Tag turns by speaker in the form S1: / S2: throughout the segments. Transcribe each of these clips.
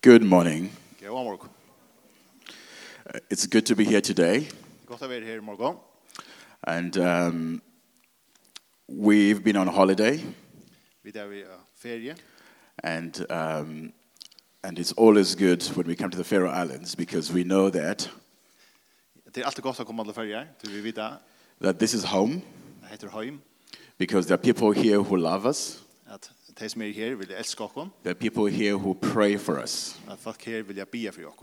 S1: Good morning.
S2: God morgon.
S1: Uh, It's good to be here today.
S2: Gott att vara här i morgon.
S1: And um, we've been on holiday,
S2: Vi där vi är er eh, ferie.
S1: and, um, and it's always good when we come to the Faroe Islands because we know that,
S2: Det är alltid gott att komma till färger. Du vi vet att
S1: that this is home
S2: det heter Heim.
S1: because there are people here who love us,
S2: Att de som är här vill älska oss.
S1: there are people here who pray for us.
S2: Att folk här vill jag be för oss.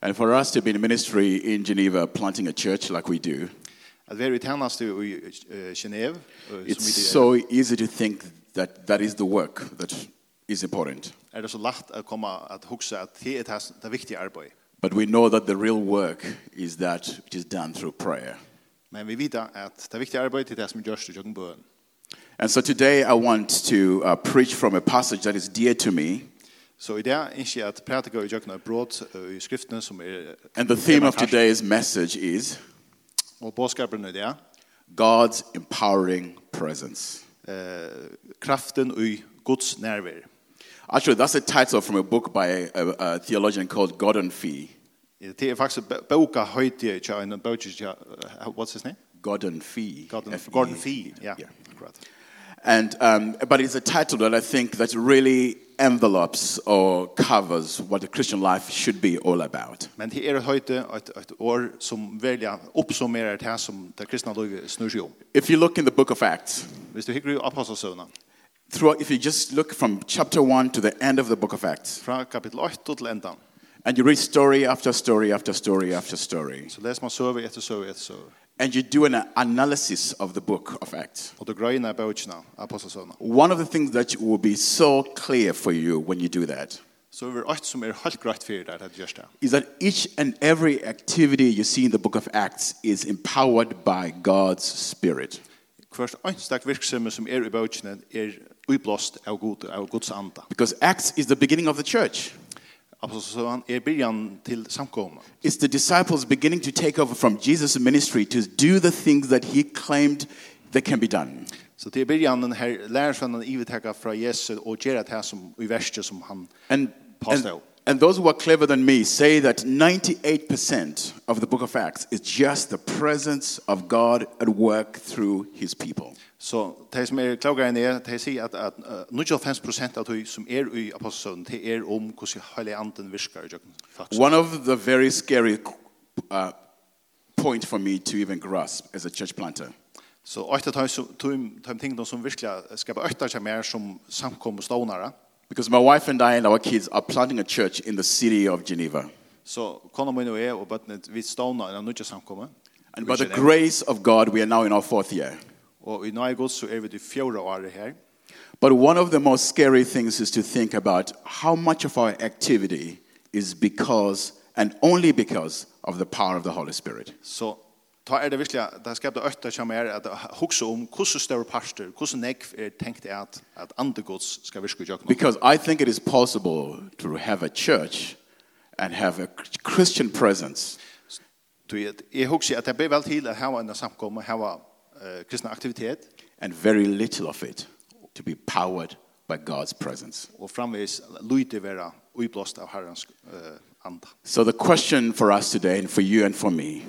S1: And for us to be in ministry in Geneva, planting a church like we do,
S2: Att vi är i tjänste i eh, Genève. eh, som
S1: it's
S2: vi där-
S1: so easy to think that that is the work that is important.
S2: är er det så lätt att komma att huxa att det är det här- det viktiga arbetet.
S1: But we know that the real work is that it is done through prayer.
S2: Men vi vet att det viktiga arbetet är det som görs i Jögenbøen.
S1: And so today I want to uh, preach from a passage that is dear to me.
S2: Så i det är inte att prata i Jögenbøen brott i skriften som är...
S1: And the theme
S2: eh,
S1: of today's message is
S2: Och bådskapen i det
S1: God's empowering presence.
S2: är kraften i eh, Guds närvaro.
S1: Actually, that's a title from a book by a, a, a theologian called Gordon Fee.
S2: Det er är faktiskt boka höjtie tja en boka tja uh, what's his name?
S1: Gordon Fee.
S2: Gordon
S1: F E.
S2: Gordon Fee. Ja. Akkurat.
S1: And, um, but it's a title that I think that really envelopes or covers what the Christian life should be all about.
S2: Men er det är höjte ett ett år som välja uppsummerar det här som det kristna livet snurrar sig om.
S1: If you look in the book of Acts,
S2: Visst du hickar ju apostelsönerna.
S1: throughout, if you just look from chapter 1 to the end of the book of Acts,
S2: Från kapitel 8 till ändan.
S1: And you read story after story after story after story.
S2: Så läser man söver efter söver efter söver.
S1: And you do an analysis of the book of Acts.
S2: Och då gröna bokarna apostelsönerna.
S1: One of the things that will be so clear for you when you do that
S2: Så över allt som är helt grejt för det att görs det.
S1: is that each and every activity you see in the book of Acts is empowered by God's Spirit.
S2: Först einstak verksamhet som är i bokarna är uppblåst er av god av Guds anda.
S1: Because Acts is the beginning of the church,
S2: Apostelsönerna är början till samkomna.
S1: it's the disciples beginning to take over from Jesus' ministry to do the things that he claimed that can be done.
S2: Så det är början den här lärsvannen ivetaka från Jesus och göra det här som i värsta som han
S1: And, and,
S2: påstår.
S1: and those who are clever than me say that 98% of the book of Acts is just the presence of God at work through his people.
S2: Så det som er är klokare än det, det säger att, att uh, 95% av det som är i apostelsönen, det är om hur hela anden virkar i jorden. faktiskt.
S1: One of the very scary uh, point for me to even grasp as a church planter
S2: Så ett av de som- de- de ting som verkligen ska vara ökta sig mer er som samkom och stånare,
S1: because my wife and I and our kids are planting a church in the city of Geneva.
S2: så kommer man nu är och bötnet vid stånare när nudja samkommer.
S1: And by the grace of God, we are now in our fourth year.
S2: Och i några god så är vi det fjorda året här.
S1: But one of the most scary things is to think about how much of our activity is because and only because of the power of the Holy Spirit.
S2: Så ta er det virkelig, det skapte økta som er at hugsa om hvordan større parster, hvordan nekv er tenkt er at, at andre gods skal virke i jøkken.
S1: Because I think it is possible to have a church and have a Christian presence
S2: Jeg hugsa at det ble vel til at hava en samkomme, hava uh, kristna aktivitet,
S1: and very little of it to be powered by God's presence.
S2: og framvis lydig vera uiblåst av herrens uh, anda.
S1: So the question for us today and for you and for me,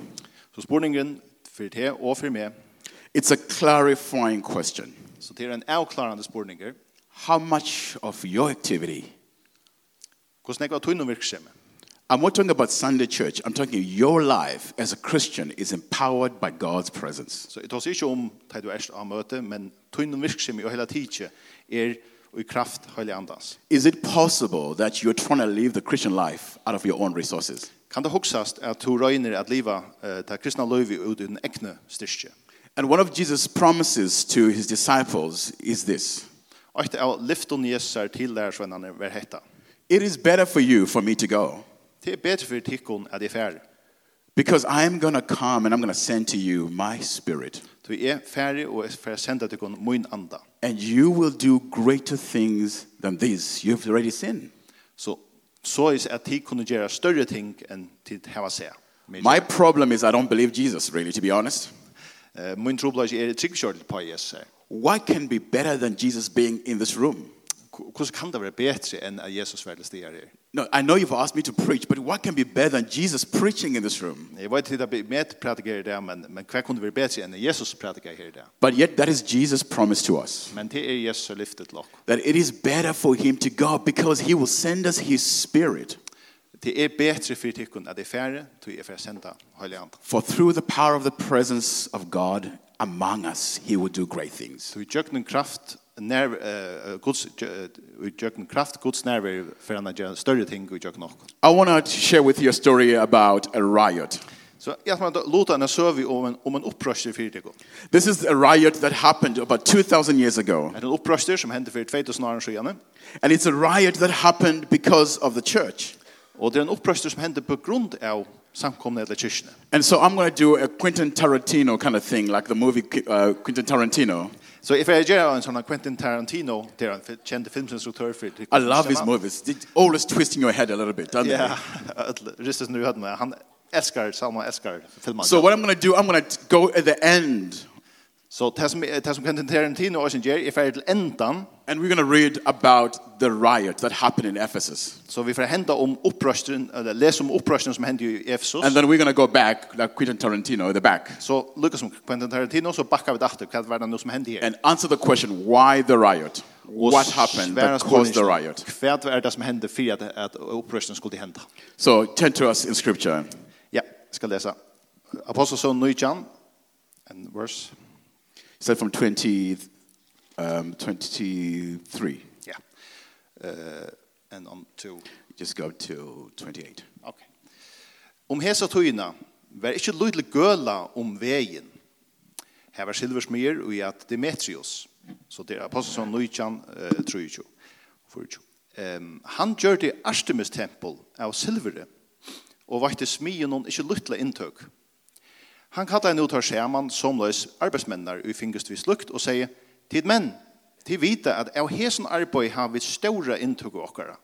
S2: Så spurningen for det og for meg,
S1: it's a clarifying question.
S2: så det er en avklarande spurninger,
S1: How much of your activity
S2: hvordan nekva tunn virksomme.
S1: I'm not talking about Sunday church. I'm talking your life as a Christian is empowered by God's presence.
S2: Så jeg tar seg ikke om det du erst av møte, men tunn virksomme og hele tidsje er i kraft høylig andans.
S1: Is it possible that you're trying to live the Christian life out of your own resources?
S2: Kan det huksast at du røyner at liva uh, ta kristna løyvi ut i den ekne styrkje?
S1: And one of Jesus' promises to his disciples is this
S2: Og etter av lyfton jesar til lærersvennene ver hetta.
S1: It is better for you for me to go
S2: Det er bedre for tikkun at jeg færre.
S1: because I am going to come and I'm going to send to you my spirit,
S2: Du er færre og jeg færre senda tikkun mun anda.
S1: and you will do greater things than these you've already seen.
S2: Så så is at tig kunne gjøre større ting enn tid heva seg. Min,
S1: My problem is I don't believe Jesus, really, to be honest.
S2: uh, min trobladje er tryggkjørt på Jesus.
S1: What can be better than Jesus being in this room?
S2: Hvordan kan det være bedre enn at Jesus var til stier her?
S1: No, I know you've asked me to preach, but what can be better than Jesus preaching in this room?
S2: Jeg vet ikke at jeg med pratiker i det, men, men hva kunne være bedre enn at Jesus pratiker her i det?
S1: But yet, that is Jesus' promise to us
S2: Men det er Jesus som lyftet til dere.
S1: that it is better for him to go because he will send us his spirit.
S2: Det er bedre for tikkun at det er færre, til jeg får sende Høylig Ande.
S1: For through the power of the presence of God among us, he will do great things.
S2: Så i jøkken kraft, nær, uh, Guds, uh, i jøkken kraft, Guds nærvær, for han gjør større ting i jøkken nok.
S1: I want to share with you a story about a riot.
S2: Så jeg tror at Lothar er søv om en, om en opprøster for tikkun.
S1: This is a riot that happened about 2,000 years ago.
S2: Det er en opprøster som hendte for 2000 år siden,
S1: And it's a riot that happened because of the church.
S2: og det er en opprøster som hendte på grunn av samkomne eller kyrkene.
S1: And so I'm going to do a Quentin Tarantino kind of thing, like the movie uh, Quentin Tarantino.
S2: Så if jeg gjør en sånn Quentin Tarantino, det er en fi- kjent filminstruktør for tikkun.
S1: I love his movies. They always twisting your head a little bit, don't
S2: Ja,
S1: they?
S2: öll- ristet nu hade man. Han älskar, Salma älskar filmen.
S1: So what I'm going to do, I'm going to go at the end,
S2: Så det som, det som Quentin Tarantino også gjør, er ferdig til endan,
S1: and we're going to read about the riot that happened in Ephesus.
S2: så vi får hente om opprøsteren, eller lese om opprøsteren som hendte i Efesos.
S1: And then we're going to go back, like Quentin Tarantino, at the back,
S2: så lukket som Quentin Tarantino, så bakker vi det etter hva var det nå som hendte her.
S1: and answer the question, why the riot?
S2: Og
S1: What happened
S2: svære
S1: that caused the
S2: spørsmål,
S1: riot?
S2: Hva var det som hendte for at, at opprøsteren skulle hente?
S1: So turn to us in scripture.
S2: Ja, jeg skal lese. Apostelsøn Nujjan, and verse.
S1: He said from 20, um, 23.
S2: Ja. Eh, and on to
S1: Just go to 28.
S2: Ok. Om hesa tøyna var ikkje lydelig gøla om vegin. Her var silversmyr og i at Demetrius, så det er apostelsson Nujjan, eh, 23, 24. Ehm, han gjør det Artemis tempel av silvere, og vakte smien hon ikkje lytla inntøk. Han kallar en uttar skjermann som løs arbeidsmennar ui fingust vi slukt og sier, Tid menn, til vita at av hesen arbeid har vi ståra inntøk av okkara.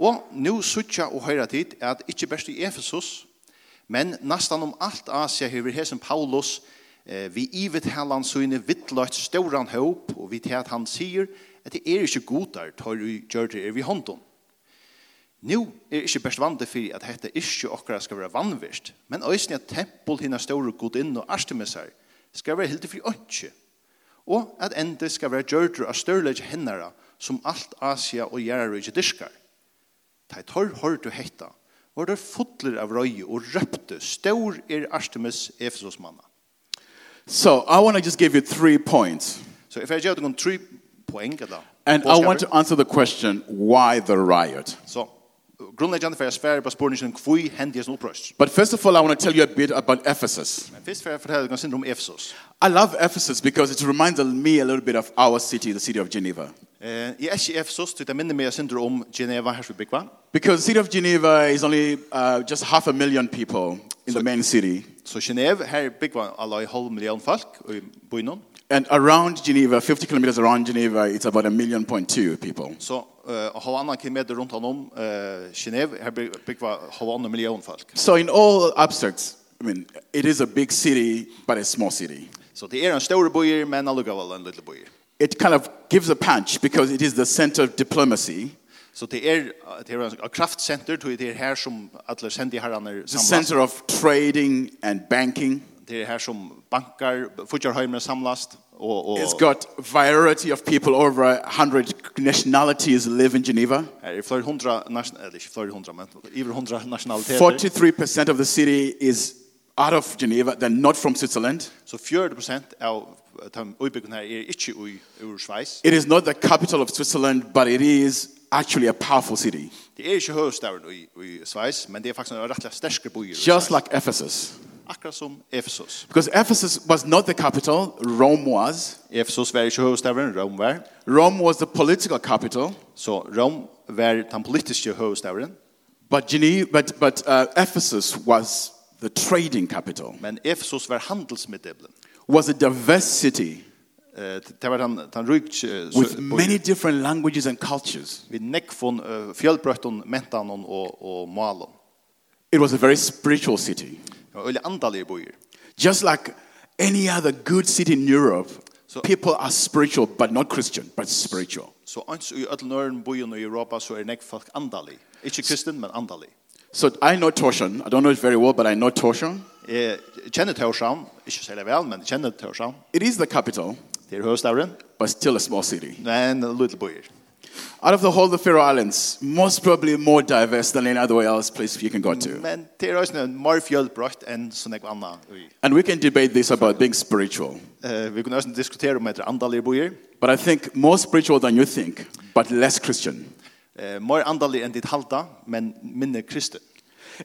S2: Og nu sutja og høyra tid er at ikkje best i Efesus, men nastan om alt Asia hever hesen Paulus, eh, vi ivet helan søgne vittlagt stauran håp, og vi til at han sier at det er ikkje godar tar vi gjør det er vi hånden. Nu er ikkje best vante fyrir at hette ikkje okkara skal være vannvist, men òsne at tempel hina store godinn og arstemissar skal være hildi fyrir ønskje, og at endi skal være gjørdur av størleik hennara som alt Asia og gjerrar ikkje dyrskar. Ta torr hör du hetta. Var det fotler av røy og røpte. Stor er Artemis Efesos manna.
S1: So I want to just give you three points.
S2: Så if jeg gjør noen tre poeng, eller,
S1: And I
S2: påskapet,
S1: want to answer the question, why the riot?
S2: Så grunnleggjande for jeg sverre på spørningen hvor hendte jeg som opprøst.
S1: But first of all, I want to tell you a bit about Ephesus.
S2: Men først for jeg fortelle noen syndrom um Efesos.
S1: I love Ephesus because it reminds me a little bit of our city, the city of Geneva.
S2: Eh, jeg er ikke i Efesos, til jeg minner meg syndrom om Geneva her som bygva.
S1: Because the city of Geneva is only uh, just half a million people in the main city.
S2: Så Geneva, her er bygva alle i halv million folk i byen.
S1: And around Geneva, 50 kilometers around Geneva, it's about a million point two people.
S2: Så uh, halvannan kilometer rundt han om eh, Geneva, her byg- bygva halvannan million folk.
S1: So in all aspects, I mean, it is a big city, but a small city.
S2: Så det er en stor byer, men allugavel en lille byer.
S1: It kind of gives a punch because it is the center of diplomacy,
S2: Så det er det er et kraftsenter tror jeg det er her som alle er sendige herrene
S1: the
S2: samlas.
S1: center of trading and banking.
S2: Det er her som bankar, futjarheimene samlas og og
S1: It's got a variety of people, over a 100 nationalities live in Geneva.
S2: her er flere hundra nation eller ikke flere hundra men iver hundra nasjonaliteter.
S1: 43% of the city is out of Geneva, they're not from Switzerland.
S2: Så 40% av eh, de utbyggene her er ikke ui, ur Sveis.
S1: It is not the capital of Switzerland, but it is actually a powerful city,
S2: Det er ikke høvstaven i, i Sveis, men det er faktisk en rettelig sterske byer i
S1: just
S2: Sveis.
S1: like Ephesus.
S2: Akkurat som Efesos.
S1: Because Ephesus was not the capital, Rome was.
S2: Efesos var ikke høvstaven, Rom var.
S1: Rome was the political capital,
S2: Så Rom var den politiske høvstaven,
S1: but, Geneva, but, but uh, Ephesus was the trading capital,
S2: men Efesos var handelsmiddelen.
S1: was a diverse city
S2: Eh, det var han han rykt
S1: with many different languages and cultures.
S2: vi neck från uh, fjällbrötton mentan och och malon.
S1: It was a very spiritual city,
S2: Ja, eller antal i bojer.
S1: just like any other good city in Europe.
S2: So-
S1: people are spiritual, but not Christian, but spiritual.
S2: Så ans i öll nörren bojen i Europa så er nekk folk andalig. Ikke kristen, men andalig.
S1: So I know Toshan. I don't know it very well, but I know Toshan.
S2: Jeg kjenner Torshavn, ikke særlig vel, men jeg kjenner Torshavn.
S1: It is the capital,
S2: Det er høvstavren,
S1: but still a small city.
S2: men en liten bojer.
S1: Out of the whole of the Faroe Islands, most probably more diverse than any other else place you can go to.
S2: Men det er også en mer fjølbrøtt enn sånn jeg anna. i.
S1: And we can debate this about being spiritual.
S2: Eh, Vi kunne også diskutere om etter andalige bojer.
S1: But I think more spiritual than you think, but less Christian.
S2: Eh, Mer andalig enn ditt halda, men minne kristen.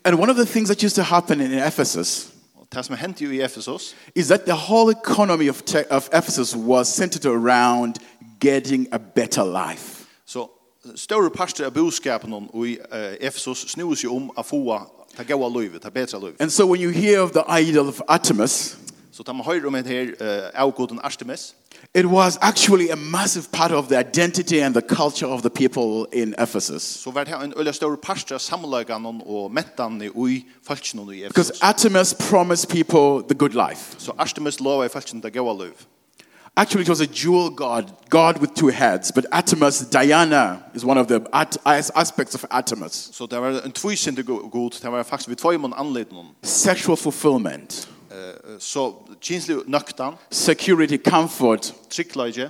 S1: And one of the things that used to happen in Ephesus
S2: Og det som hendte jo i Efesos,
S1: is that the whole economy of, te- of Ephesus was centered around getting a better life.
S2: så større parster av boskapen i eh, Efesos um snus jo om å få ta gaua løyve, ta betra løyve.
S1: And so when you hear of the idol of Artemis,
S2: Så tar man høyre om et her eh, avgåten Artemis,
S1: it was actually a massive part of the identity and the culture of the people in Ephesus.
S2: så var det en øyla større parster av sammenløyganen og mettene i falskene i
S1: Because
S2: Efesos.
S1: Artemis promised people the good life.
S2: Så Artemis lova i falskene ta gaua løyve.
S1: Actually, it was a dual god, God with two heads. But Artemis, Diana, is one of the at- as- aspects of Artemis.
S2: Så det var en tvisende god, det var faktisk vi tvoi mon anledningen.
S1: Sexual fulfillment,
S2: Eh, Så kinslig nøktan,
S1: security, comfort,
S2: tryggleige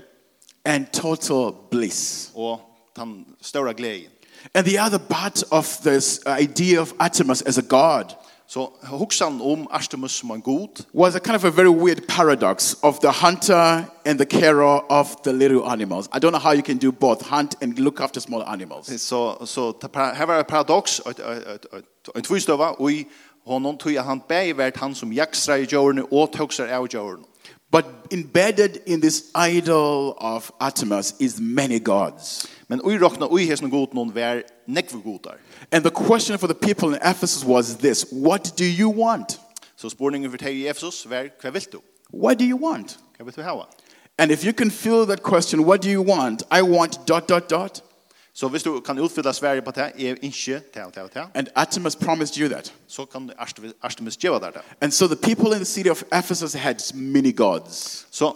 S1: and total bliss.
S2: og den større gleden.
S1: And the other part of this uh, idea of Artemis as a god
S2: Så hugsan om Artemis som en god,
S1: was a kind of a very weird paradox of the hunter and the carer of the little animals. I don't know how you can do both hunt and look after small animals.
S2: så, så det par- her var et paradoks, et- et- et- et- en tvistøva, og i honom tog jeg han bæg vært han som jaksra i jorden og tog seg av jorden.
S1: But embedded in this idol of Artemis is many gods.
S2: Men ui rokna ui hesna god noen vær nekve godar.
S1: And the question for the people in Ephesus was this What do you want?
S2: Så spurningen for teg i Efesus vær, hva vil du?
S1: What do you want?
S2: Hva vil du hava?
S1: And if you can feel that question, What do you want? I want dot, dot, dot.
S2: Så hvis du kan utfylla Sverige på det, er ikke til, til, til,
S1: And Artemis promised you that.
S2: så kan Artemis- Artemis djeva der det.
S1: And so the people in the city of Ephesus had many gods,
S2: Så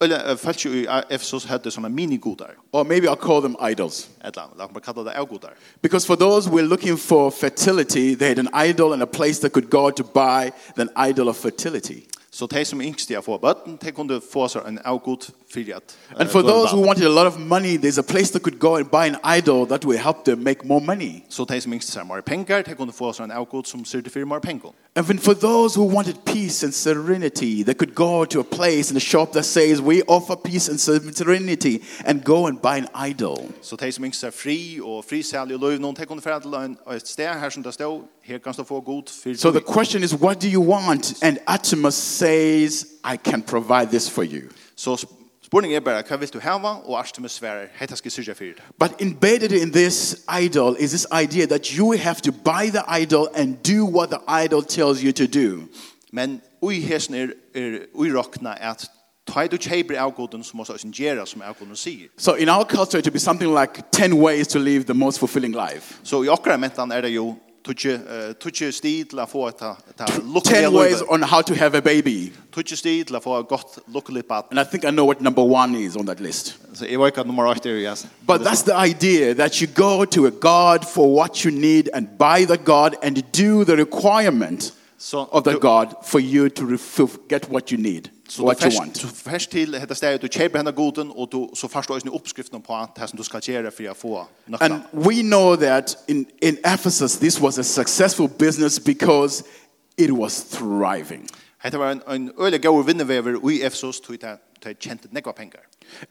S2: eller falsk i Efesos hade såna minigodar.
S1: or maybe I'll call them idols.
S2: Ett land, låt mig kalla det avgodar.
S1: Because for those who were looking for fertility, they had an idol and a place they could go to buy an idol of fertility.
S2: Så de som yngst jag får bötten, de kunde få sig en avgod för att...
S1: And for those who wanted a lot of money, there's a place they could go and buy an idol that would help them make more money.
S2: Så de som yngst sig mer pengar, de kunde få sig en avgod som ser till mer pengar.
S1: And then for those who wanted peace and serenity, they could go to a place and a shop that says, We offer peace and serenity, and go and buy an idol.
S2: Så de som yngst sig fri och frisälig och löv, någon, de kunde föra till en, ett ställe här som det stod, här kan du få god för
S1: So the question is, what do you want? And Artemis says, I can provide this for you.
S2: Så sp- spurningen er är bara, vad vill du hava? Och Artemis svarar, hetta ska syrja för det.
S1: But embedded in this idol is this idea that you have to buy the idol and do what the idol tells you to do.
S2: Men ui hesen er, er ui rokna at ta du kjeiber avgoden som også sin gjera som avgoden sier.
S1: So in our culture, it would be something like 10 ways to live the most fulfilling life.
S2: Så i okra mentan er det jo tutsi uh, sti til å få et ta, ta
S1: 10
S2: lukkelig
S1: ways
S2: løyve.
S1: on how to have a baby.
S2: Tutsi sti til å få et godt lukkelig bad.
S1: And I think I know what number one is on that list.
S2: Så jeg var ikke nummer 8 er yes.
S1: But that's the idea that you go to a God for what you need and buy the God and do the requirement
S2: So
S1: of the
S2: do-
S1: God for you to refu- get what you need,
S2: Så
S1: what
S2: du
S1: you
S2: først,
S1: want.
S2: du først til dette stedet, du kjeiber henne goden, og du, så først du også oppskriften på det som du skal gjøre for å få nøkta.
S1: And we know that in, in Ephesus, this was a successful business because it was thriving.
S2: Hette var en, en øyelig gode vinnevever i Efsos, tog jeg kjente nekva penger.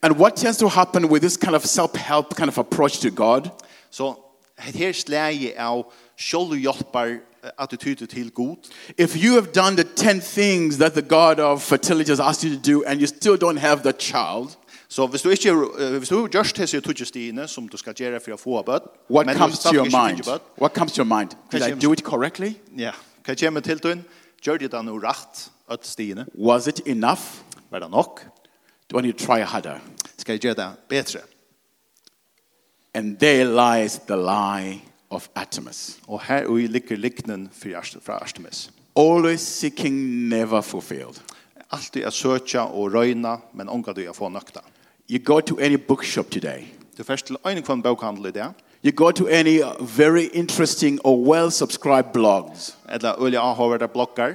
S1: And what tends to happen with this kind of self help kind of approach to God
S2: Så het her slægi av sjálv hjálpar attityde til god.
S1: If you have done the 10 things that the God of fertility has asked you to do and you still don't have the child,
S2: Så hvis du ikke eh, hvis du gjørst hese tutjestine som du skal gjøre for å få bøtt,
S1: what
S2: men du
S1: comes to
S2: stadig
S1: your
S2: ikke
S1: mind?
S2: finner bøtt,
S1: What comes to your mind? Did I
S2: Question.
S1: do it correctly?
S2: ja, hva kommer til tøyen? Gjør det da noe rett, at stine,
S1: Was it enough?
S2: var det nok?
S1: Do I need to try harder?
S2: Skal jeg gjøre det bedre?
S1: And there lies the lie of Artemis.
S2: Og her og ligger liknen fra Arst- fra Artemis.
S1: Always seeking, never fulfilled.
S2: alltid at søkja og røyna, men ongar du at få nøkta.
S1: You go to any bookshop today,
S2: Du først til ein kvann bokhandel i det,
S1: you go to any uh, very interesting or well subscribed blogs.
S2: eller øyla avhåverda bloggar,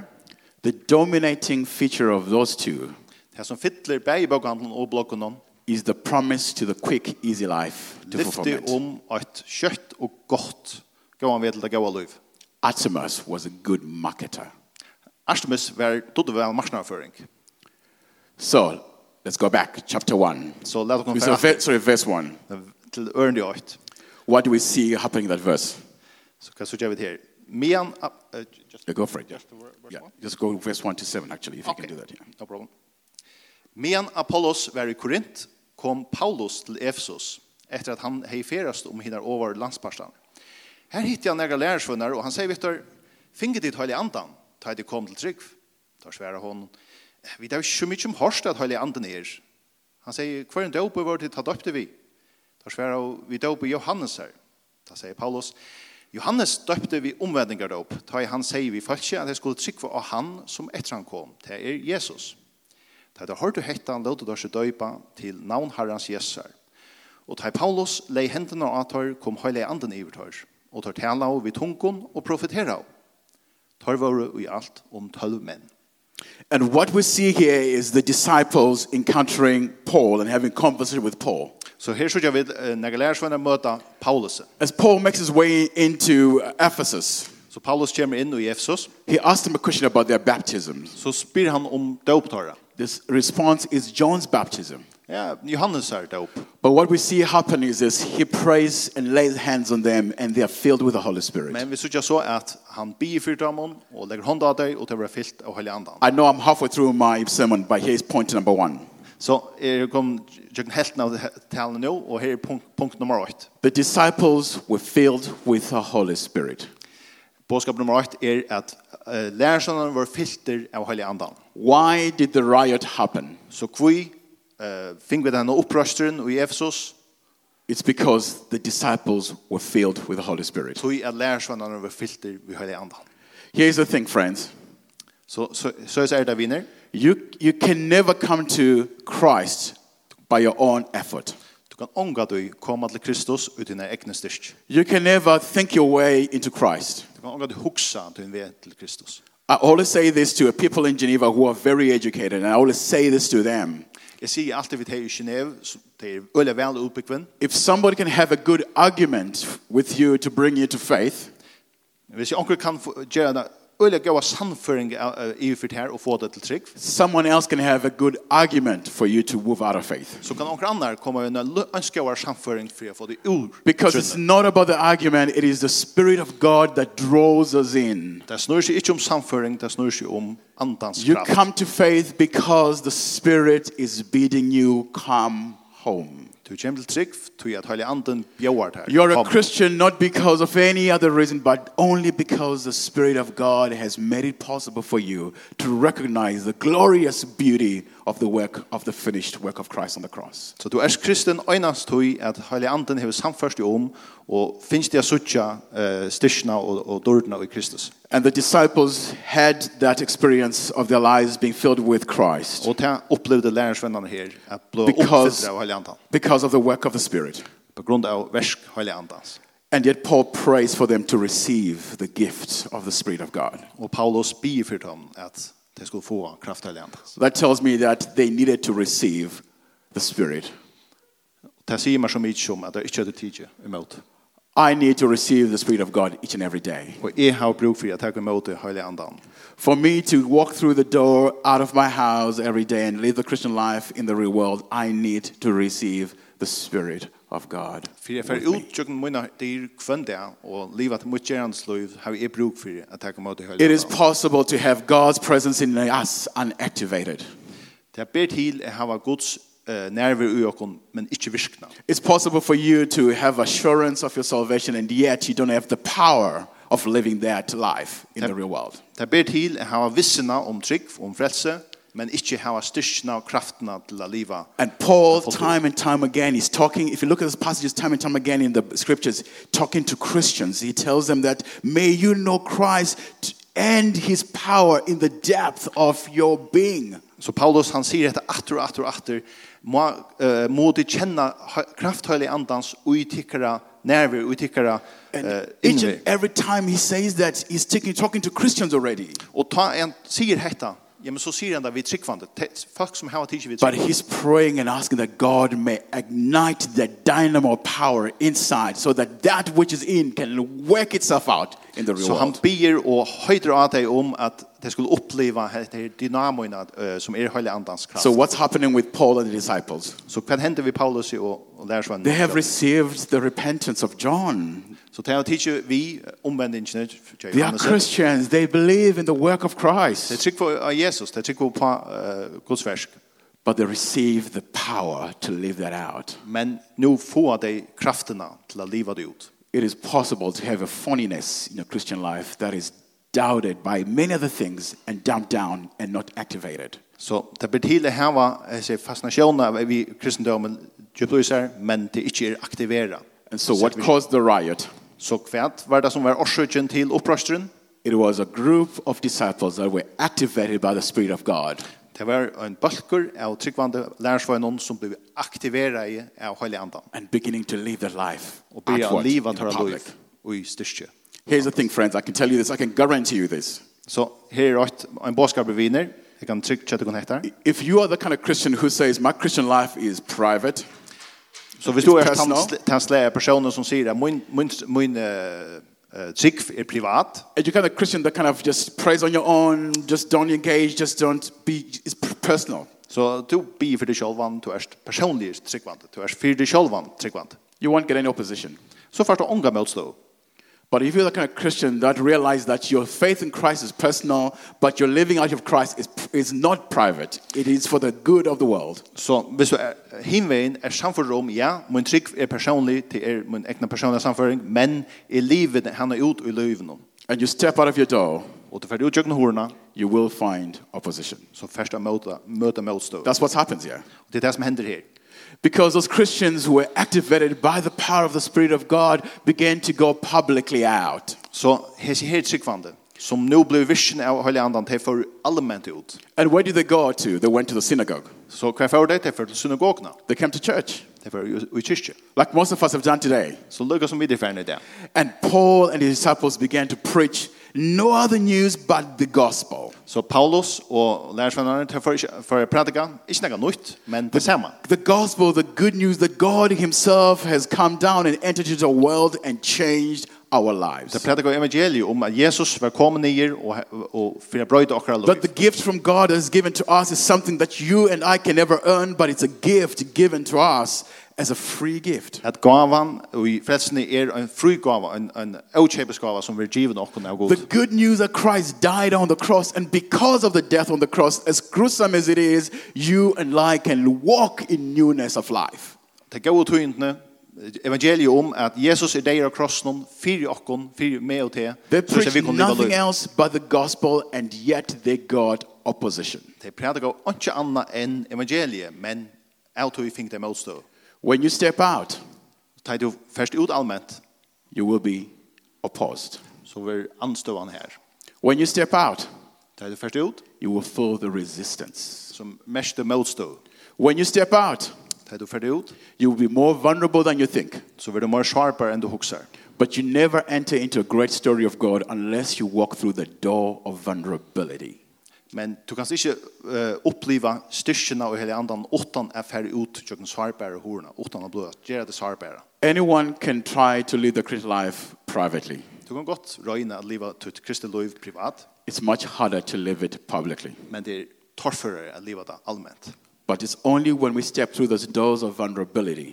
S1: The dominating feature of those two
S2: det som fyller bæg bokhandelen og bloggen om,
S1: is the promise to the quick, easy life to
S2: lyfte
S1: fulfillment.
S2: om et kjøtt um og godt gåan ved til det gåa liv.
S1: Artemis was a good marketer.
S2: Artemis var dodde vel marsnaføring.
S1: So let's go back, chapter 1.
S2: Så la dere
S1: We saw
S2: komme
S1: ve- sorry, verse 1.
S2: til ørende og øyt.
S1: What do we see happening in that verse?
S2: Så hva så gjør vi det her? Mian, uh, just
S1: Yeah, go for it. Yeah.
S2: Just the ver- verse
S1: Yeah,
S2: one?
S1: just go verse 1 to 7, actually, if
S2: Okay.
S1: you can do that. Yeah.
S2: No problem. Men Apollos var i Korint, kom Paulus til Efesos, etter at han hei ferast om hinner over landsparstan. Her hitte jeg nægra lærersvunner, og han sier, Viktor, finge ditt høylig andan, ta det kom til trygg. Tar sværa hon, vi tar ikke mykje om hørst at høylig andan er. Han sier, hver en døpe var det ta døpte vi. Tar sværa, vi døpe Johannes her. Da sier Paulus, Johannes døpte vi omvendingardøp, ta i han sier vi falskje at jeg skulle trygge av han som etter han kom, det er Jesus. Da det hørte hetta låte der seg døypa til navn Herrens Jesar. Og da Paulus lei hendene av tar, kom høyla anden i tar, og tar tala av vid tunken og profetera av. Tar våre i alt om tølv um menn.
S1: And what we see here is the disciples encountering Paul and having conversation with Paul.
S2: Så her eh, sier vi når lærersvenner møter Paulus.
S1: As Paul makes his way into uh, Ephesus,
S2: Så Paulus kommer inn i Efesos,
S1: he asks them a question about their baptisms.
S2: så spyr um han om døptara.
S1: This response is John's baptism.
S2: Ja, Johannes er døp.
S1: But what we see happen is this he prays and lays hands on them, and they are filled with the Holy Spirit.
S2: Men vi sier så at han bier fyrtamon og legger hånda av deg og det blir fyllt av høyla andan.
S1: I know I'm halfway through my sermon, but here's point number one.
S2: Så er kom jøkken helten av talen nå, og her er punkt, punkt nummer 8.
S1: The disciples were filled with the Holy Spirit.
S2: Bådskap nummer 8 er at uh, lærersønnen var filter av Heilige Andan.
S1: Why did the riot happen?
S2: Så kvi uh, finner vi denne opprøsteren i Efesos,
S1: It's because the disciples were filled with the Holy Spirit.
S2: tog at lærersønnen var filter av Heilige Andan.
S1: Here's the thing, friends.
S2: Så, så, så er det vinner.
S1: You, you can never come to Christ by your own effort.
S2: Du kan omgå at du kommer til Kristus ut i dine egne styrk.
S1: You can never think your way into Christ.
S2: Du kan omgå at du huksa til en vei um til Kristus.
S1: I always say this to people in Geneva who are very educated, and I always say this to them.
S2: Jeg sier alltid vi tar i Genève, så det er øyelig vel utbyggven.
S1: If somebody can have a good argument with you to bring you to faith,
S2: Hvis jeg omgå kan få- gjøre en øyelig gøy samføring uh, i fyrt her og få det til trygg,
S1: someone else can have a good argument for you to move out of faith.
S2: så kan omkring annar komme med en ønskjøver samføring for å få det ur.
S1: Because it's not about the argument, it is the Spirit of God that draws us in.
S2: Det snur seg ikke om samføring, det snur seg om andans
S1: You
S2: kraft.
S1: come to faith because the Spirit is bidding you come home.
S2: Du kommer til trygg, du er at heilig anden bjøver her.
S1: You're a
S2: Kom.
S1: Christian not because of any other reason, but only because the Spirit of God has made it possible for you to recognize the glorious beauty of the work of the finished work of Christ on the cross.
S2: Så du er kristen øynast tog at heilig anden har samførst deg om, og finnes det suttja uh, styrsna og, og dårdna i Kristus.
S1: And the disciples had that experience of their lives being filled with Christ
S2: Og det opplevde lærersvennene her, at blå
S1: Because-
S2: oppfyllt av heilig anden,
S1: because of the work of the Spirit.
S2: på grunn av versk heilig andans.
S1: And yet Paul prays for them to receive the gift of the Spirit of God.
S2: Og Paulus bier for dem at de skulle få kraft heilig andans.
S1: So that tells me that they needed to receive the Spirit.
S2: Det sier meg så mye som at det ikke er det tidlig imot.
S1: I need to receive the Spirit of God each and every day.
S2: Og jeg har brug for at jeg kommer imot det heilig andan.
S1: For me to walk through the door out of my house every day and live the Christian life in the real world, I need to receive the Spirit of God.
S2: För jag för ut tjöken mina dyr kvönda och livet mot gerans liv har jag bruk för att ta emot det
S1: It is
S2: höll.
S1: possible to have God's presence in us unactivated.
S2: Det ber till att ha Guds eh, nerver i ökon men inte virkna.
S1: It's possible for you to have assurance of your salvation and yet you don't have the power of living that life in the real world.
S2: Det ber till att ha vissena om trygg om frälse men inte ha styrkna och krafterna till att leva.
S1: And Paul,
S2: Apostles.
S1: time and time again, he's talking. If you look at these passages, time and time again in the scriptures, talking to Christians, he tells them that may you know Christ and his power in the depth of your being.
S2: Så Paulus han sier dette atter og atter og atter. Må, uh, må de kjenne krafthøylig andans uitikere nerver, uitikere
S1: And
S2: uh,
S1: each and
S2: innver.
S1: every time he says that, he's taking, talking to Christians already.
S2: Og ta en sier hetta, ja, men så sier han det vi tryggvande. Te- Folk som har tidsi vi er
S1: But
S2: tryggvande.
S1: he's praying and asking that God may ignite the dynamo of power inside so that that which is in can work itself out in the real
S2: Så han
S1: world.
S2: ber og høyder av deg om at de skulle oppleva dette dynamoina eh, som er høylig andans kraft.
S1: So, what's happening with Paul and the disciples?
S2: Så hva hender vi Paulus i og, og lærersvannen?
S1: They have received the repentance of John.
S2: Så det har tidsi vi omvendingene.
S1: They are Christians. They believe in the work of
S2: Det
S1: Christ.
S2: tryggvande av eh, Jesus, det tryggvande på uh, Guds versk.
S1: But they receive the power to live that out.
S2: Men nu får de krafterna till att leva det ut.
S1: It is possible to have a funniness in your Christian life that is doubted by many other things and dumped down and not activated.
S2: Så det blir till att häva eh, fascinationen vid kristendomen djuplösar, men det inte är aktivera.
S1: And so, what caused the riot?
S2: Så kvärt var det som var orsaken till upprörstren.
S1: It was a group of disciples that were activated by the Spirit of God.
S2: Det var en balkur av tryggvande lärarsvagnon som blev aktivera i av heliga andan.
S1: and beginning to live their life
S2: Och bli att
S1: outward
S2: leva
S1: in
S2: tåra
S1: public.
S2: liv och i styrke.
S1: Here's the thing, friends. I can tell you this. I can guarantee you this.
S2: Så här är ett, en bådskap vinner. Jag kan tryggt köta kunna hetta.
S1: If you are the kind of Christian who says, my Christian life is private,
S2: Så hvis du
S1: It's
S2: er den
S1: personal.
S2: sl- den slære personen som sier at min, min, min uh, trygg er privat,
S1: and you're kind of Christian that kind of just prays on your own, just don't engage, just don't be, it's p- personal.
S2: så du blir for deg sjølvan, du er personlig tryggvand, du er for deg sjølvan tryggvand.
S1: You won't get any opposition.
S2: Så først du unga motstå.
S1: But if you're the kind of Christian that realizes that your faith in Christ is personal, but your living out of Christ is, is not private, it is for the good of the world.
S2: Så hvis du er hinveien er samfunnet om, ja, min trygg er personlig, det er min egna personlige samføring, men i livet, han er ut i livet nå.
S1: And you step out of your door,
S2: Og du ferdig utjøkken horna,
S1: you will find opposition.
S2: så først du møter, møter motstå.
S1: That's what happens here.
S2: Det er det som hender her.
S1: Because those Christians who were activated by the power of the Spirit of God began to go publicly out.
S2: Så hese her er tryggvande, som nå blir visjen av Høylig Andan, det får allment ut.
S1: And where did they go to? They went to the synagogue.
S2: Så hver for det, det er for til synagogene.
S1: They came to church,
S2: Det er for i kyrkje.
S1: like most of us have done today.
S2: Så lukket som vi det ferne det.
S1: And Paul and his disciples began to preach no other news but the gospel.
S2: Så Paulus og lærersvennerne tar for, for å prædika, ikke noe nytt, men det samme.
S1: The gospel, the good news that God Himself has come down and entered into the world and changed our
S2: Det
S1: lives.
S2: prædika evangeliet om um at Jesus var kommet nye og, og for å brøyde akkurat
S1: That the
S2: lov.
S1: gift from God that is given to us is something that you and I can never earn, but it's a gift given to us as a free gift.
S2: At gavan og i frelsene er en fri gava, en, en avkjøpes gava som vil give noen av
S1: The
S2: god.
S1: good news that Christ died on the cross, and because of the death on the cross, as gruesome as it is, you and I can walk in newness of life.
S2: Det gode tøyendene, evangeliet om at Jesus er deir av krossen, fyrir okkon, fyrir med og til,
S1: They
S2: så skal
S1: preached
S2: vi kunne leva
S1: nothing
S2: løy.
S1: else but the gospel, and yet they got opposition.
S2: Det prædika ikke annet enn evangeliet, men av tøy fink det motstå.
S1: When you step out,
S2: Tar du først ut allment,
S1: you will be opposed.
S2: så vil anstøvan her. er
S1: When you step out,
S2: Tar du først ut,
S1: you will feel the resistance.
S2: som mest er motstå.
S1: When you step out,
S2: Tar du ferdig ut,
S1: you will be more vulnerable than you think.
S2: så vil du mer sharper enn du huksar.
S1: But you never enter into a great story of God unless you walk through the door of vulnerability.
S2: Men du kan ikke uh, oppleva styrkjena og hele andan åttan er ferdig ut tjøkken sharpere horna, åttan er blod, gjør det sharpere.
S1: Anyone can try to live the Christian life privately.
S2: Du kan godt røyna at liva tutt kristel liv privat,
S1: It's much harder to live it publicly.
S2: men det er torfere at liva det allment.
S1: But it's only when we step through those doors of vulnerability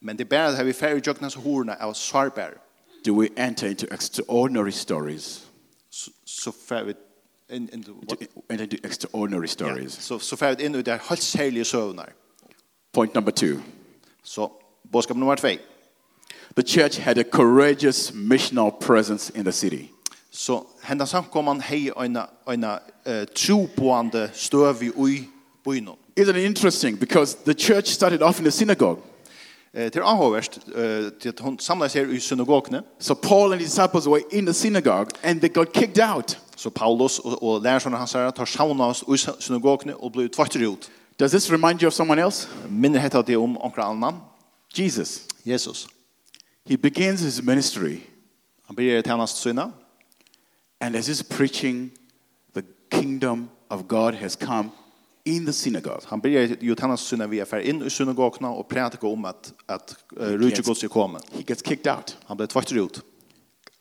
S2: Men det er bare at vi ferdig tjøkken horna er sharpere,
S1: do we enter into extraordinary stories.
S2: så så fer vi inn inn
S1: Do- Enter into extraordinary
S2: ja,
S1: stories.
S2: så så fer vi inn i det helt særlige søvnar.
S1: Point number two
S2: Så boskap nummer 2.
S1: the church had a courageous missional presence in the city.
S2: Så henda samkomman hei eina eina uh, troboande støvi ui bynum.
S1: Isn't it interesting? Because the church started off in the synagogue.
S2: Eh til Ahoverst eh til at hon samlas her i synagogene.
S1: So Paul and his disciples were in the synagogue and they got kicked out.
S2: Så Paulus og, og lærersønne hans herre tar sauna oss i synagogene og blir tvakter ut.
S1: Does this remind you of someone else?
S2: Minner hette det om onker um annan,
S1: Jesus.
S2: Jesus.
S1: He begins his ministry,
S2: Han blir til hans syna,
S1: and as he's preaching, the kingdom of God has come in the synagogue.
S2: han blir jo til hans syna vi er ferdig inn i synagogene og prædiker om at, at uh, Rutjegods er kommet.
S1: He gets kicked out,
S2: Han blir tvakter ut,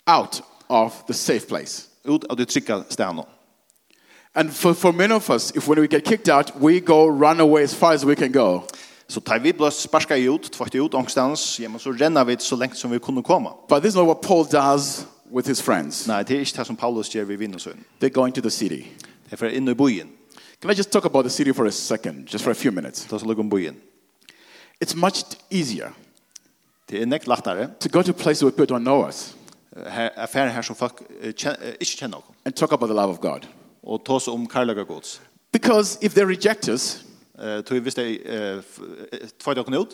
S1: out of the safe place.
S2: ut av det trygge stedet.
S1: And for, for many of us, if when we get kicked out, we go run away as far as we can go.
S2: Så tar vi blåst sparska ut, tvakter ut ångstens, ja, men så renner vi så lengt som vi kunne komme.
S1: But this is not what Paul does with his friends.
S2: Nei, det er ikke det som Paulus gjør ved vinnersøen.
S1: They go into the city.
S2: Det er for inn i byen.
S1: Can I just talk about the city for a second, just for a few minutes?
S2: Det er så lukk om byen.
S1: It's much easier
S2: Det er nekt lettere.
S1: to go to places where people don't know us
S2: Her, affæren her som folk eh, kjen, eh, ikke kjenner noen.
S1: and talk about the love of God.
S2: Og ta oss om karlaga gods.
S1: Because if they reject us,
S2: Eh, Tog hvis de eh, f- eh, tvøyde dere ut,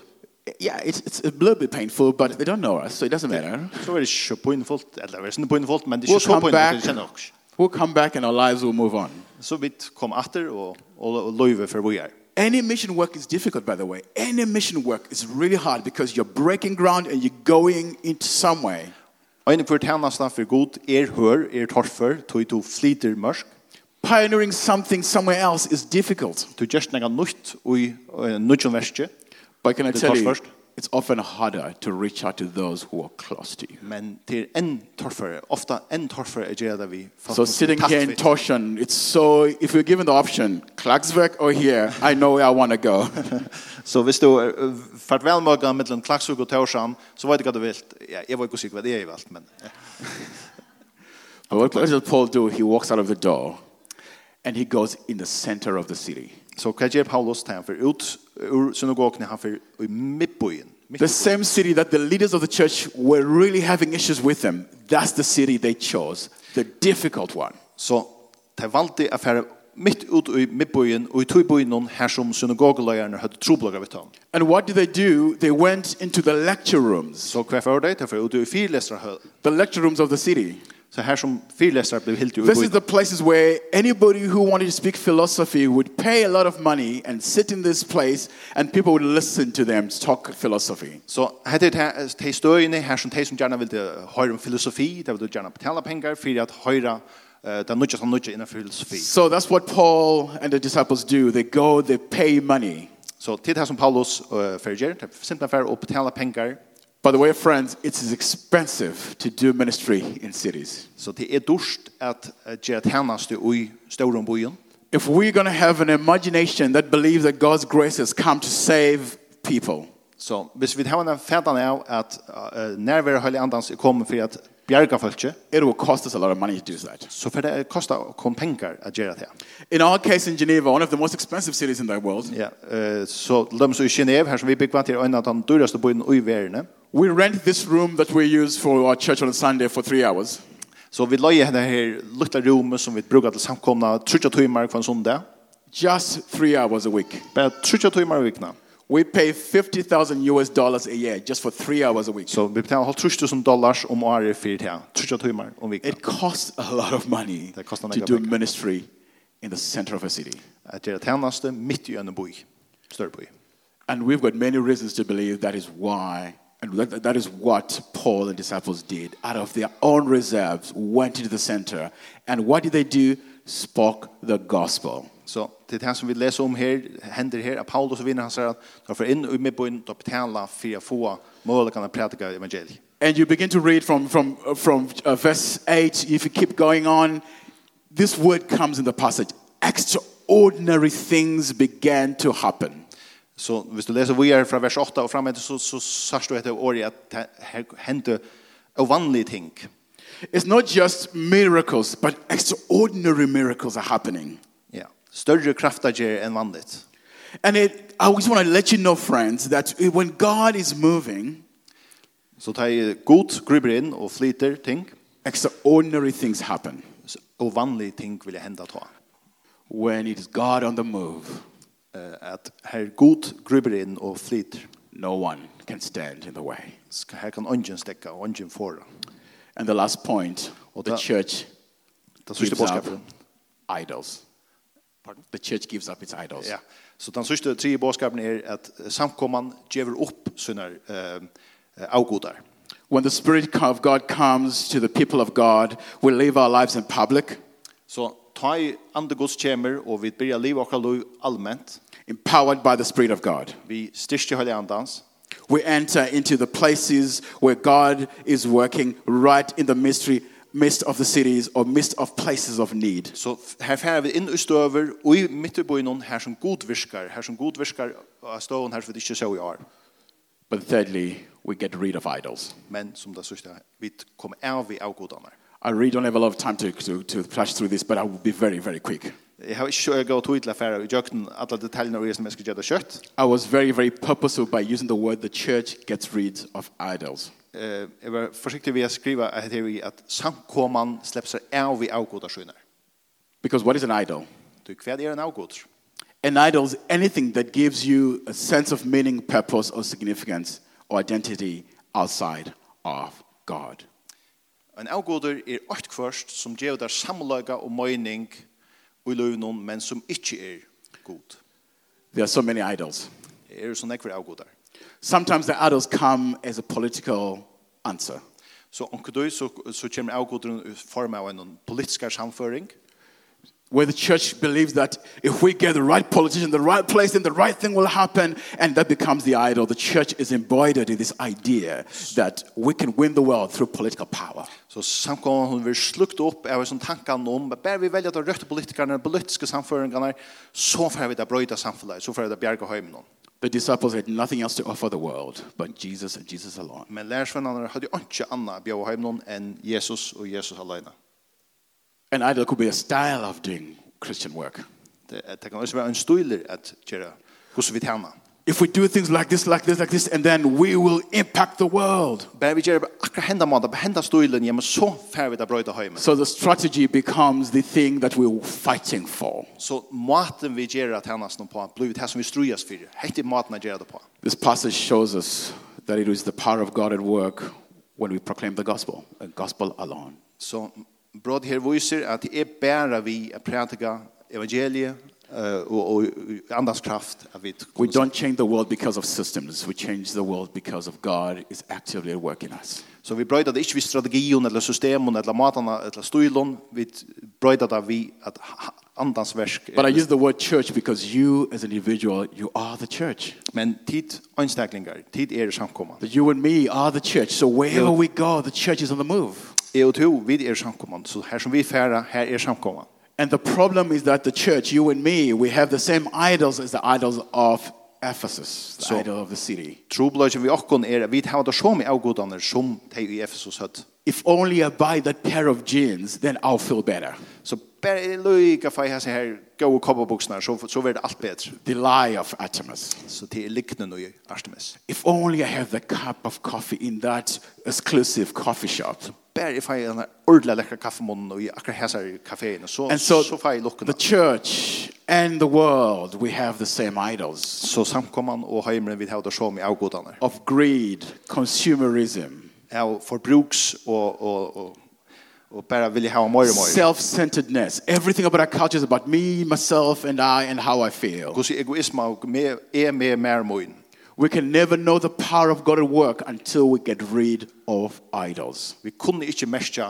S1: yeah, it's, it's a little bit painful, but they don't know us, so it doesn't matter.
S2: så er det ikke poinfullt, eller det er ikke poinfullt, men det er
S1: We'll
S2: ikke så
S1: come
S2: poinfullt at
S1: back.
S2: de kjenner oss.
S1: We'll come back and our lives will move on.
S2: Så vi kom atter og, og, og løyve for vi er.
S1: Any mission work is difficult, by the way. Any mission work is really hard because you're breaking ground and you're going into some way.
S2: Øyne for tjenestene for god er hør, er torfer, tog to flyter mørk,
S1: Pioneering something somewhere else is difficult.
S2: Du gjørst nega nytt i eh, nudjon verskje,
S1: But can I
S2: The
S1: tell
S2: touch
S1: you,
S2: first.
S1: it's often harder to reach out to those who are close to you.
S2: men til enn torfere, ofta enn torfere er gjerne det vi faktisk
S1: So sitting
S2: kontakt
S1: here in
S2: vid.
S1: Toshan, it's so, if you're given the option, Klagsvik or here, I know where I want to go.
S2: Så hvis du er eh, fært velmøga mellom klagsug og tørsan, så vet du hva du vil. Ja, jeg var ikke sikker hva det er i velt, men eh,
S1: But what, what does Paul do? He walks out of the door and he goes in the center of the city.
S2: så hva gjør Paulus til han for ut ur synagogene han for i midtbyen.
S1: The same city that the leaders of the church were really having issues with them. That's the city they chose, the difficult one.
S2: Så de valgte å fære midt ut i midtbyen og i tøybyen her som synagogeløyerne hadde troblaga vidt han.
S1: And what did they do? They went into the lecture rooms,
S2: Så hva er for det? De fære ut i fyrlesere høl.
S1: the lecture rooms of the city.
S2: Så her som fyrlesere ble helt i
S1: This
S2: byen.
S1: is the places where anybody who wanted to speak philosophy would pay a lot of money and sit in this place, and people would listen to them talk philosophy.
S2: Så hette det de støyene her som de som gjerne vil høre om filosofi, de vil gjerne betale penger for at høre uh, det nødja som nødja innenfor filosofi.
S1: So that's what Paul and the disciples do. They go, they pay money.
S2: Så til det som Paulus uh, fører, de simpelthen for å betale penger,
S1: By the way, friends, it is expensive to do ministry in cities.
S2: så det er dårst at uh, gjøre tjeneste i støren byen.
S1: If we're going to have an imagination that believes that God's grace has come to save people,
S2: Så hvis vi har en fætan av at uh, nærvære høylig andans er kommet for at bjerga folket,
S1: it will cost us a lot of money to do that.
S2: så for det koster å komme penger at gjøre det.
S1: In our case in Geneva, one of the most expensive cities in the world,
S2: Ja, uh, så de som er i Genève, her som vi bygger til øynene av den dyreste byen i verden,
S1: we rent this room that we use for our church on Sunday for three hours.
S2: Så vi leier henne her lukta rommet som vi brukar til samkomna 30 timmar kvar en sondag.
S1: just three hours a week.
S2: Bara 30 timmar i vikna.
S1: We pay 50,000 US dollars a year just for three hours a week.
S2: Så vi betalar 30.000 dollars om året för det här. 30 timmar om vikna.
S1: It costs a lot of money
S2: Det kostar
S1: to
S2: några
S1: do
S2: pengar.
S1: ministry in the center of a city.
S2: Eh, Att göra tjänste mitt i en by. Större by.
S1: And we've got many reasons to believe that is why, and that, that is what Paul and disciples did. Out of their own reserves, went into the center. And what did they do? Spoke the gospel.
S2: Så det här som vi läser om här händer här att Paulus och vinner han säger att de får in i midbyn och betala för att få möjligheten att predika evangeliet.
S1: And you begin to read from, from, uh, from uh, verse 8. If you keep going on, this word comes in the passage. Extraordinary things began to happen.
S2: Så hvis du leser videre fra vers 8 og fram etter så, så sørst du etter året at det her hendte ovanlige ting.
S1: It's not just miracles, but extraordinary miracles are happening.
S2: Ja. Større kraftager enn vanligt.
S1: And it, I just want to let you know, friends, that when God is moving,
S2: Så tar jeg god, gruber inn og flyter ting,
S1: extraordinary things happen.
S2: s- og vanlige ting vil jeg hende ta.
S1: When it is God on the move,
S2: Eh, At her god gruber inn og flyter,
S1: no one can stand in the way.
S2: Sk- her kan ånden stekke og ånden fåra.
S1: And the last point
S2: Og
S1: the
S2: da-
S1: church
S2: Den sista
S1: gives up
S2: boskapen.
S1: idols. The church gives up its idols.
S2: Ja. Så den sista tre boskapen er at samkomman gjever opp sina eh, avgodar.
S1: When the Spirit of God comes to the people of God, we live our lives in public,
S2: Så ta i andre gods kjemer, og vi byrja liv og liv allment.
S1: empowered by the Spirit of God.
S2: Vi styrker høyde andans.
S1: We enter into the places where God is working right in the mystery, midst of the cities or midst of places of need.
S2: Så f- her fer vi inn i støver, og i midt i byen her som god virskar, her som god virskar av støven her som vi ikke så i år.
S1: But thirdly, we get rid of idols.
S2: Men som det sørste, vi kommer av i avgodene.
S1: I really don't have a lot of time to, to, to flash through this, but I will be very, very quick.
S2: Jeg har ikke øyga og tog til affæra i jøkken, alle detaljene og jeg som jeg skal gjøre det kjøtt.
S1: I was very, very purposeful by using the word the church gets rid of idols.
S2: Eh, Jeg var forsiktig ved å skrive her i at samkomman slipper seg av i avgodarsøyner.
S1: Because what is an idol?
S2: Du, hva er en avgodar?
S1: An idol is anything that gives you a sense of meaning, purpose, or significance or identity outside of God.
S2: En avgodar er alt kvørst som gjør der samlaga og møyning og i løvnån, men som ikke er god.
S1: There are so many idols.
S2: Det er jo sånn ekver avgodar.
S1: Sometimes the idols come as a political answer.
S2: Så onkur du, så, så kommer avgodaren i form av en politisk samføring.
S1: Where the church believes that if we get the right politician, in the right place, then the right thing will happen, and that becomes the idol. The church is embroidered in this idea that we can win the world through political power.
S2: Så samkommer hun vil slukt opp av sånn tankene om at bare vi velger de røtte politikerne, de politiske samføringene, så får vi det brøyta samfunnet, så får vi det bjerga heimen.
S1: The disciples had nothing else to offer the world but Jesus and Jesus alone.
S2: Men lærersvennerne hadde jo ikke annet bjerga heimen enn Jesus og Jesus alene.
S1: An idol could be a style of doing Christian work.
S2: Det, er- det kan også være en støyler at gjøre hvordan vi tjener.
S1: If we do things like this, like this, like this, and then we will impact the world.
S2: Bare vi gjør akkurat henda måte, på henda støylen, ja, men så får vi det brøyta heimen.
S1: So the strategy becomes the thing that we're fighting for.
S2: Så måten vi gjør at hennes noe på, blir det her som vi strujas for. Hette er måten jeg gjør det på.
S1: This passage shows us that it is the power of God at work when we proclaim the gospel, the gospel alone.
S2: Så brod her viser at det er bare vi at prætika evangeliet eh, og, og andans kraft at vi
S1: We don't change the world because of systems. We change the world because of God is actively at work in us.
S2: så vi brøyta det ikke vi strategien eller systemen eller matene eller stilen vi brøyta det vi at ha- andans versk
S1: But I use the word church because you, as an individual, you are the church.
S2: men tid anstaklingar tid er samkomman
S1: That you and me are the church. So wherever we go, the church is on the move.
S2: jeg og to vi er samkomman så her som vi færa her er samkomman
S1: And the problem is that the church, you and me, we have the same idols as the idols of Ephesus, the
S2: So-
S1: idol of the city.
S2: Troblagen vi okkon er at vi har det som i avgodaner som de i Efesos høtt.
S1: If only I buy that pair of jeans, then I'll feel better.
S2: Så bare løyga fei hans her gode kopperbuksene, så, så blir det alt bedre.
S1: The lie of Artemis.
S2: Så det er liknende i Artemis.
S1: If only I have the cup of coffee in that exclusive coffee shop.
S2: Bare jeg feier denne ordentlig lekre kaffemånen og i akkurat hans her kaféen, så,
S1: And so
S2: så, så feier jeg
S1: the
S2: lukkene.
S1: church and the world, we have the same idols
S2: Så samkommene og heimeren vil ha det som i avgodene.
S1: of greed, consumerism,
S2: Jeg forbruks og, og, og, og bare vil jeg ha mer og mer.
S1: self-centeredness. Everything about our culture is about me, myself, and I, and how I feel.
S2: Hvordan egoisme og me- er med mer og mer.
S1: We can never know the power of God at work until we get rid of idols.
S2: Vi kunne ikke mestja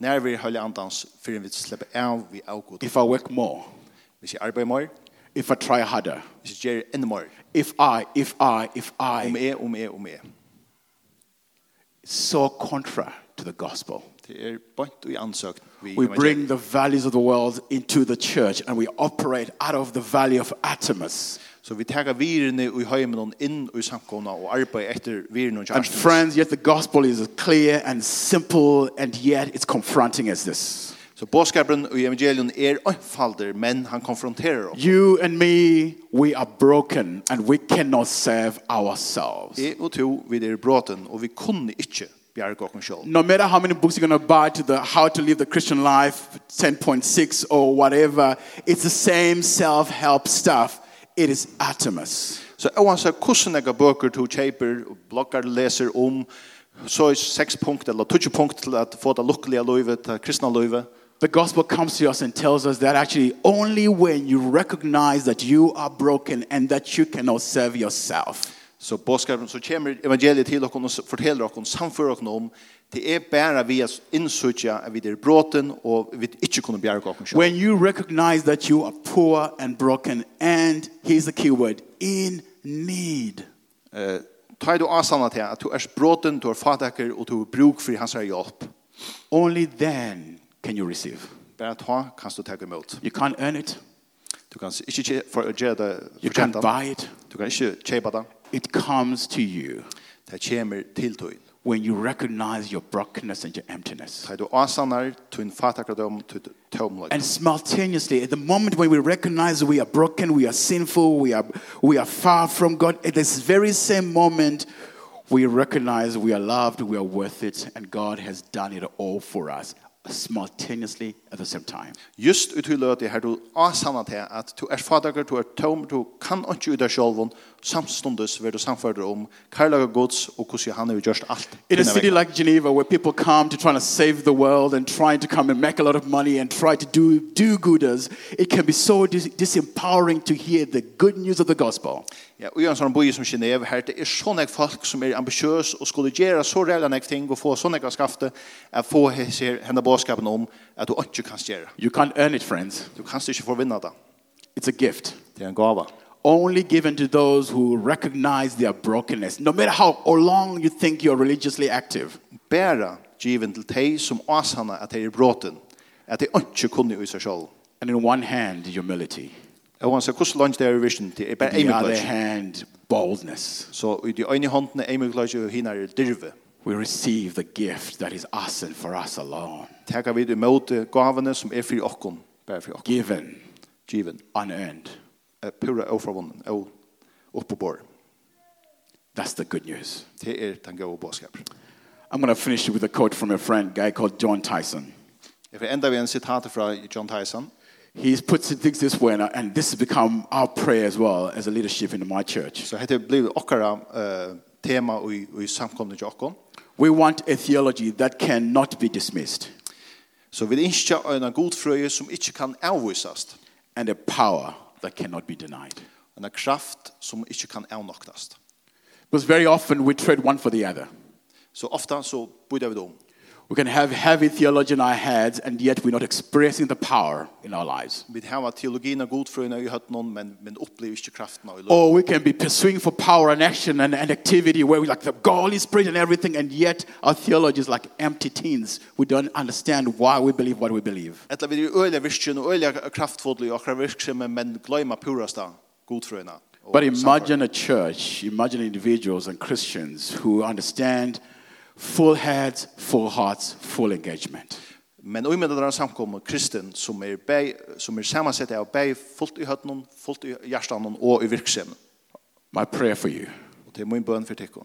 S2: når vi holder andans, for vi slipper av vi avgodene.
S1: If I work more,
S2: Hvis jeg arbeider mer,
S1: if I try harder,
S2: hvis jeg gjør enda mer,
S1: if I, if I, if
S2: om
S1: I,
S2: jeg, om jeg, om jeg.
S1: so contra to the gospel.
S2: Det er bønt og i ansøkt.
S1: We bring the values of the world into the church and we operate out of the value of Atomus.
S2: Så vi tar virene i heimen inn i samkomna og arbeid etter virene og
S1: And friends, yet the gospel is clear and simple and yet it's confronting as this.
S2: Så bådskapen i evangelion er einfalder, men han konfronterer oss.
S1: You and me, we are broken and we cannot save ourselves.
S2: Jeg og to, vi er bråten, og vi kunne ikke bjerge oss selv.
S1: No matter how many books you're going to buy to the How to Live the Christian Life 10.6 or whatever, it's the same self help stuff. It is Atomus.
S2: Så oansett hvordan jeg bøker to kjeiper, og blogger leser om, så er seks punkt eller tutsje punkt til at få det lukkelige løyve, til kristne løyve,
S1: The gospel comes to us and tells us that actually only when you recognize that you are broken and that you cannot serve yourself.
S2: Så påskapen så kommer evangeliet til oss og forteller oss, samfører oss om, det er bare vi at innsøtja at vi er bråten og vi ikke kunne bjerge oss selv.
S1: When you recognize that you are poor and broken and here's the key word in need.
S2: Eh, Ta du avstanda til at du er bråten, du er fatakker og du er bruk for hans her hjelp.
S1: Only then can you receive.
S2: Bare ta kan du ta imot.
S1: You can't earn it.
S2: Du kan ikke tje- for- gjøre det
S1: You
S2: fortjent.
S1: can't buy it.
S2: Du kan ikke kjøpe det.
S1: It comes to you
S2: Det kommer til tøyen.
S1: when you recognize your brokenness and your emptiness.
S2: Ta du avstander, tøyen fatakkerdom, tøyen tomløk.
S1: And simultaneously, at the moment when we recognize we are broken, we are sinful, we are, we are far from God, at this very same moment, we recognize we are loved, we are worth it, and God has done it all for us simultaneously at the same time.
S2: Just ut hur löt det här du asanna till att du är fadager, du är tom, du kan inte ut av själven samstundes ver du samförder om karlaga gods och hur han har gjort allt.
S1: In a
S2: dina
S1: city
S2: vägar.
S1: like Geneva, where people come to try to save the world and trying to come and make a lot of money and try to do do gooders, it can be so dis- disempowering to hear the good news of the gospel.
S2: Ja, och i en sån by som Genève er här, det är sån här folk som är ambitiös och skulle göra så rädda näkt ting och få sån här skafte att få henne bådskapen om att du inte kan göra.
S1: You can't earn it, friends.
S2: Du kan inte få vinna det.
S1: It's a gift.
S2: Det är en gava.
S1: Only given to those who recognize their brokenness, no matter how or long you think you're religiously active.
S2: Bära given till dig som asanna att det är bråten, att det inte kunde ut sig själv.
S1: And in one hand, humility.
S2: Jag hon säger, hur långt det är i er vision till? Det är bara
S1: In
S2: en
S1: the other
S2: plats.
S1: hand, boldness.
S2: Så i de ene hånden er Emil Glasje og hinner er dirve.
S1: We receive the gift that is us and for us alone,
S2: Teka vi det møte gavene som er for okken, bare for okken,
S1: given,
S2: given.
S1: unearned.
S2: Eh, Pura og fra vunnen, og opp på bord.
S1: That's the good news.
S2: Det er den gode bådskapen.
S1: I'm going to finish with a quote from a friend, a guy called John Tyson.
S2: Jeg får enda vi en sitat fra John Tyson.
S1: He puts it things this way, and, I- and this has become our prayer as well as a leadership in my church.
S2: Så dette blir er okkara eh, tema i, i samkomne til okken.
S1: We want a theology that cannot be dismissed
S2: Så vi ønsker en god frøye som ikke kan avvisast.
S1: and a power that cannot be denied.
S2: En kraft som ikke kan avnoktast.
S1: Because very often we trade one for the other.
S2: Så ofta så bryter vi det om.
S1: We can have heavy theology in our heads, and yet we're not expressing the power in our lives.
S2: Vi har teologin og godfrøyene i høtt noen, men, men opplever ikke kraften av i løpet.
S1: Or we can be pursuing for power and action and, and activity where we like the goal is praise and everything, and yet our theology is like empty teens. We don't understand why we believe what we believe.
S2: Etla við er øyla virksun og øyla kraftfull i okkara virksemi, men gløyma purasta godfrøyna. og
S1: But
S2: samfara.
S1: imagine a church, imagine individuals and Christians who understand full heads, full hearts, full engagement.
S2: Men og med denne samkommet kristen som er, bei, som er samansett av bei fullt i høttenen, fullt i hjertanen og i virksemi.
S1: My prayer for you
S2: Og det er min bøn for tikkun.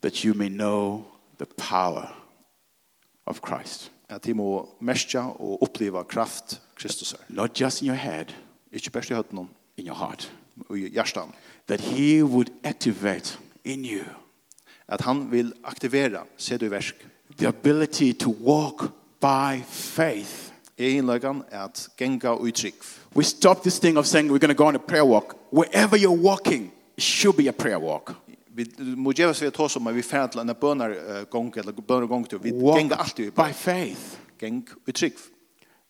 S1: that you may know the power of Christ,
S2: At de må merkja og oppleva kraft Kristus er.
S1: not just in your head,
S2: Ikke best i høttenen
S1: in your heart,
S2: og i hjertan.
S1: that He would activate in you
S2: At han vil aktivera, se du i versk.
S1: the ability to walk by faith.
S2: Eginløgan at genga og i trygg.
S1: We stop this thing of saying we're going to go on a prayer walk. Wherever you're walking, it should be a prayer walk.
S2: Vi må gjeva seg til oss om at vi færdla enn bønargong eh, eller bønargong til. Vi genga
S1: Walk
S2: alltid i bøn.
S1: by faith
S2: geng i trygg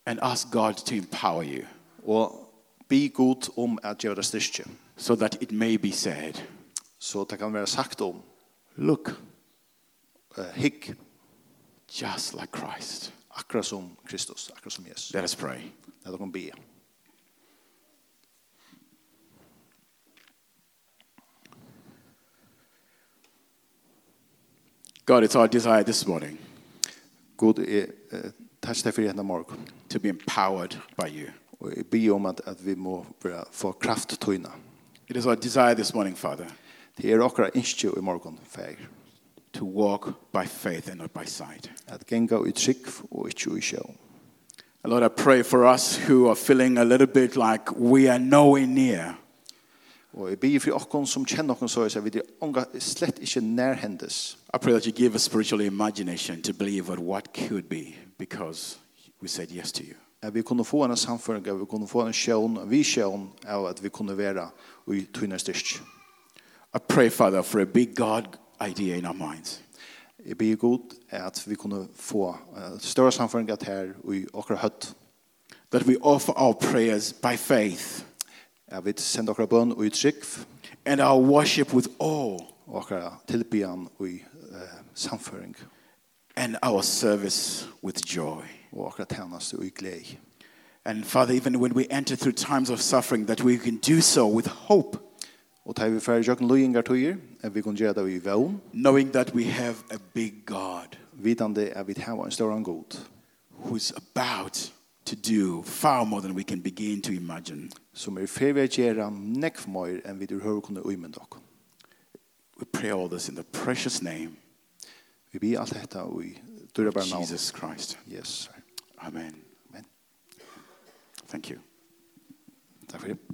S1: and ask God to empower you
S2: og be god om at gjøre det styrke.
S1: so that it may be said,
S2: Så det kan være sagt om
S1: Look,
S2: uh, hikk,
S1: just like Christ.
S2: akkurat som Kristus, akkurat som Jesus.
S1: Let us pray.
S2: Det er noen be.
S1: God, it's our desire this morning
S2: God er uh, takk deg for henne morgen.
S1: to be empowered by you.
S2: Og jeg be om at, at vi må være, få kraft tøyne.
S1: It is our desire this morning, Father,
S2: Det er akkurat ikke i morgen, fær.
S1: to walk by faith and not by sight.
S2: At genga i trygg og ikke i sjø.
S1: And Lord, I pray for us who are feeling a little bit like we are nowhere near
S2: Og jeg be for dere som kjenner dere så, så vi er unga, slett ikke nærhendes.
S1: I pray that you give us spiritual imagination to believe what what could be because we said yes to you.
S2: At vi kunne få en samføring, at vi kunne få en sjøen, en visjøen, av at vi kunne være i tøyne styrke.
S1: I pray, Father, for a big God idea in our minds.
S2: Jeg blir god at vi kunne få eh, større samføring at her i okra høtt.
S1: That we offer our prayers by faith
S2: At vi sender okra bøn og i trygg,
S1: and our worship with awe
S2: og okra tilbyan og i eh, samføring,
S1: and our service with joy.
S2: og okra tjeneste og i glede.
S1: And Father, even when we enter through times of suffering, that we can do so with hope,
S2: Og tar vi færre jøkken løyengar tøyer, at vi kunne gjøre det i vevn,
S1: knowing that we have a big God
S2: vidande at vi har en større god,
S1: who's about to do far more than we can begin to imagine.
S2: som er ferdig å gjøre nekv mer enn vi til høyre kunne uimende dere.
S1: We pray all this in the precious name
S2: Vi blir alt dette og i døra
S1: of
S2: bare navn.
S1: Jesus Christ.
S2: Yes, sir.
S1: Amen.
S2: Amen.
S1: Thank you.
S2: Takk for det.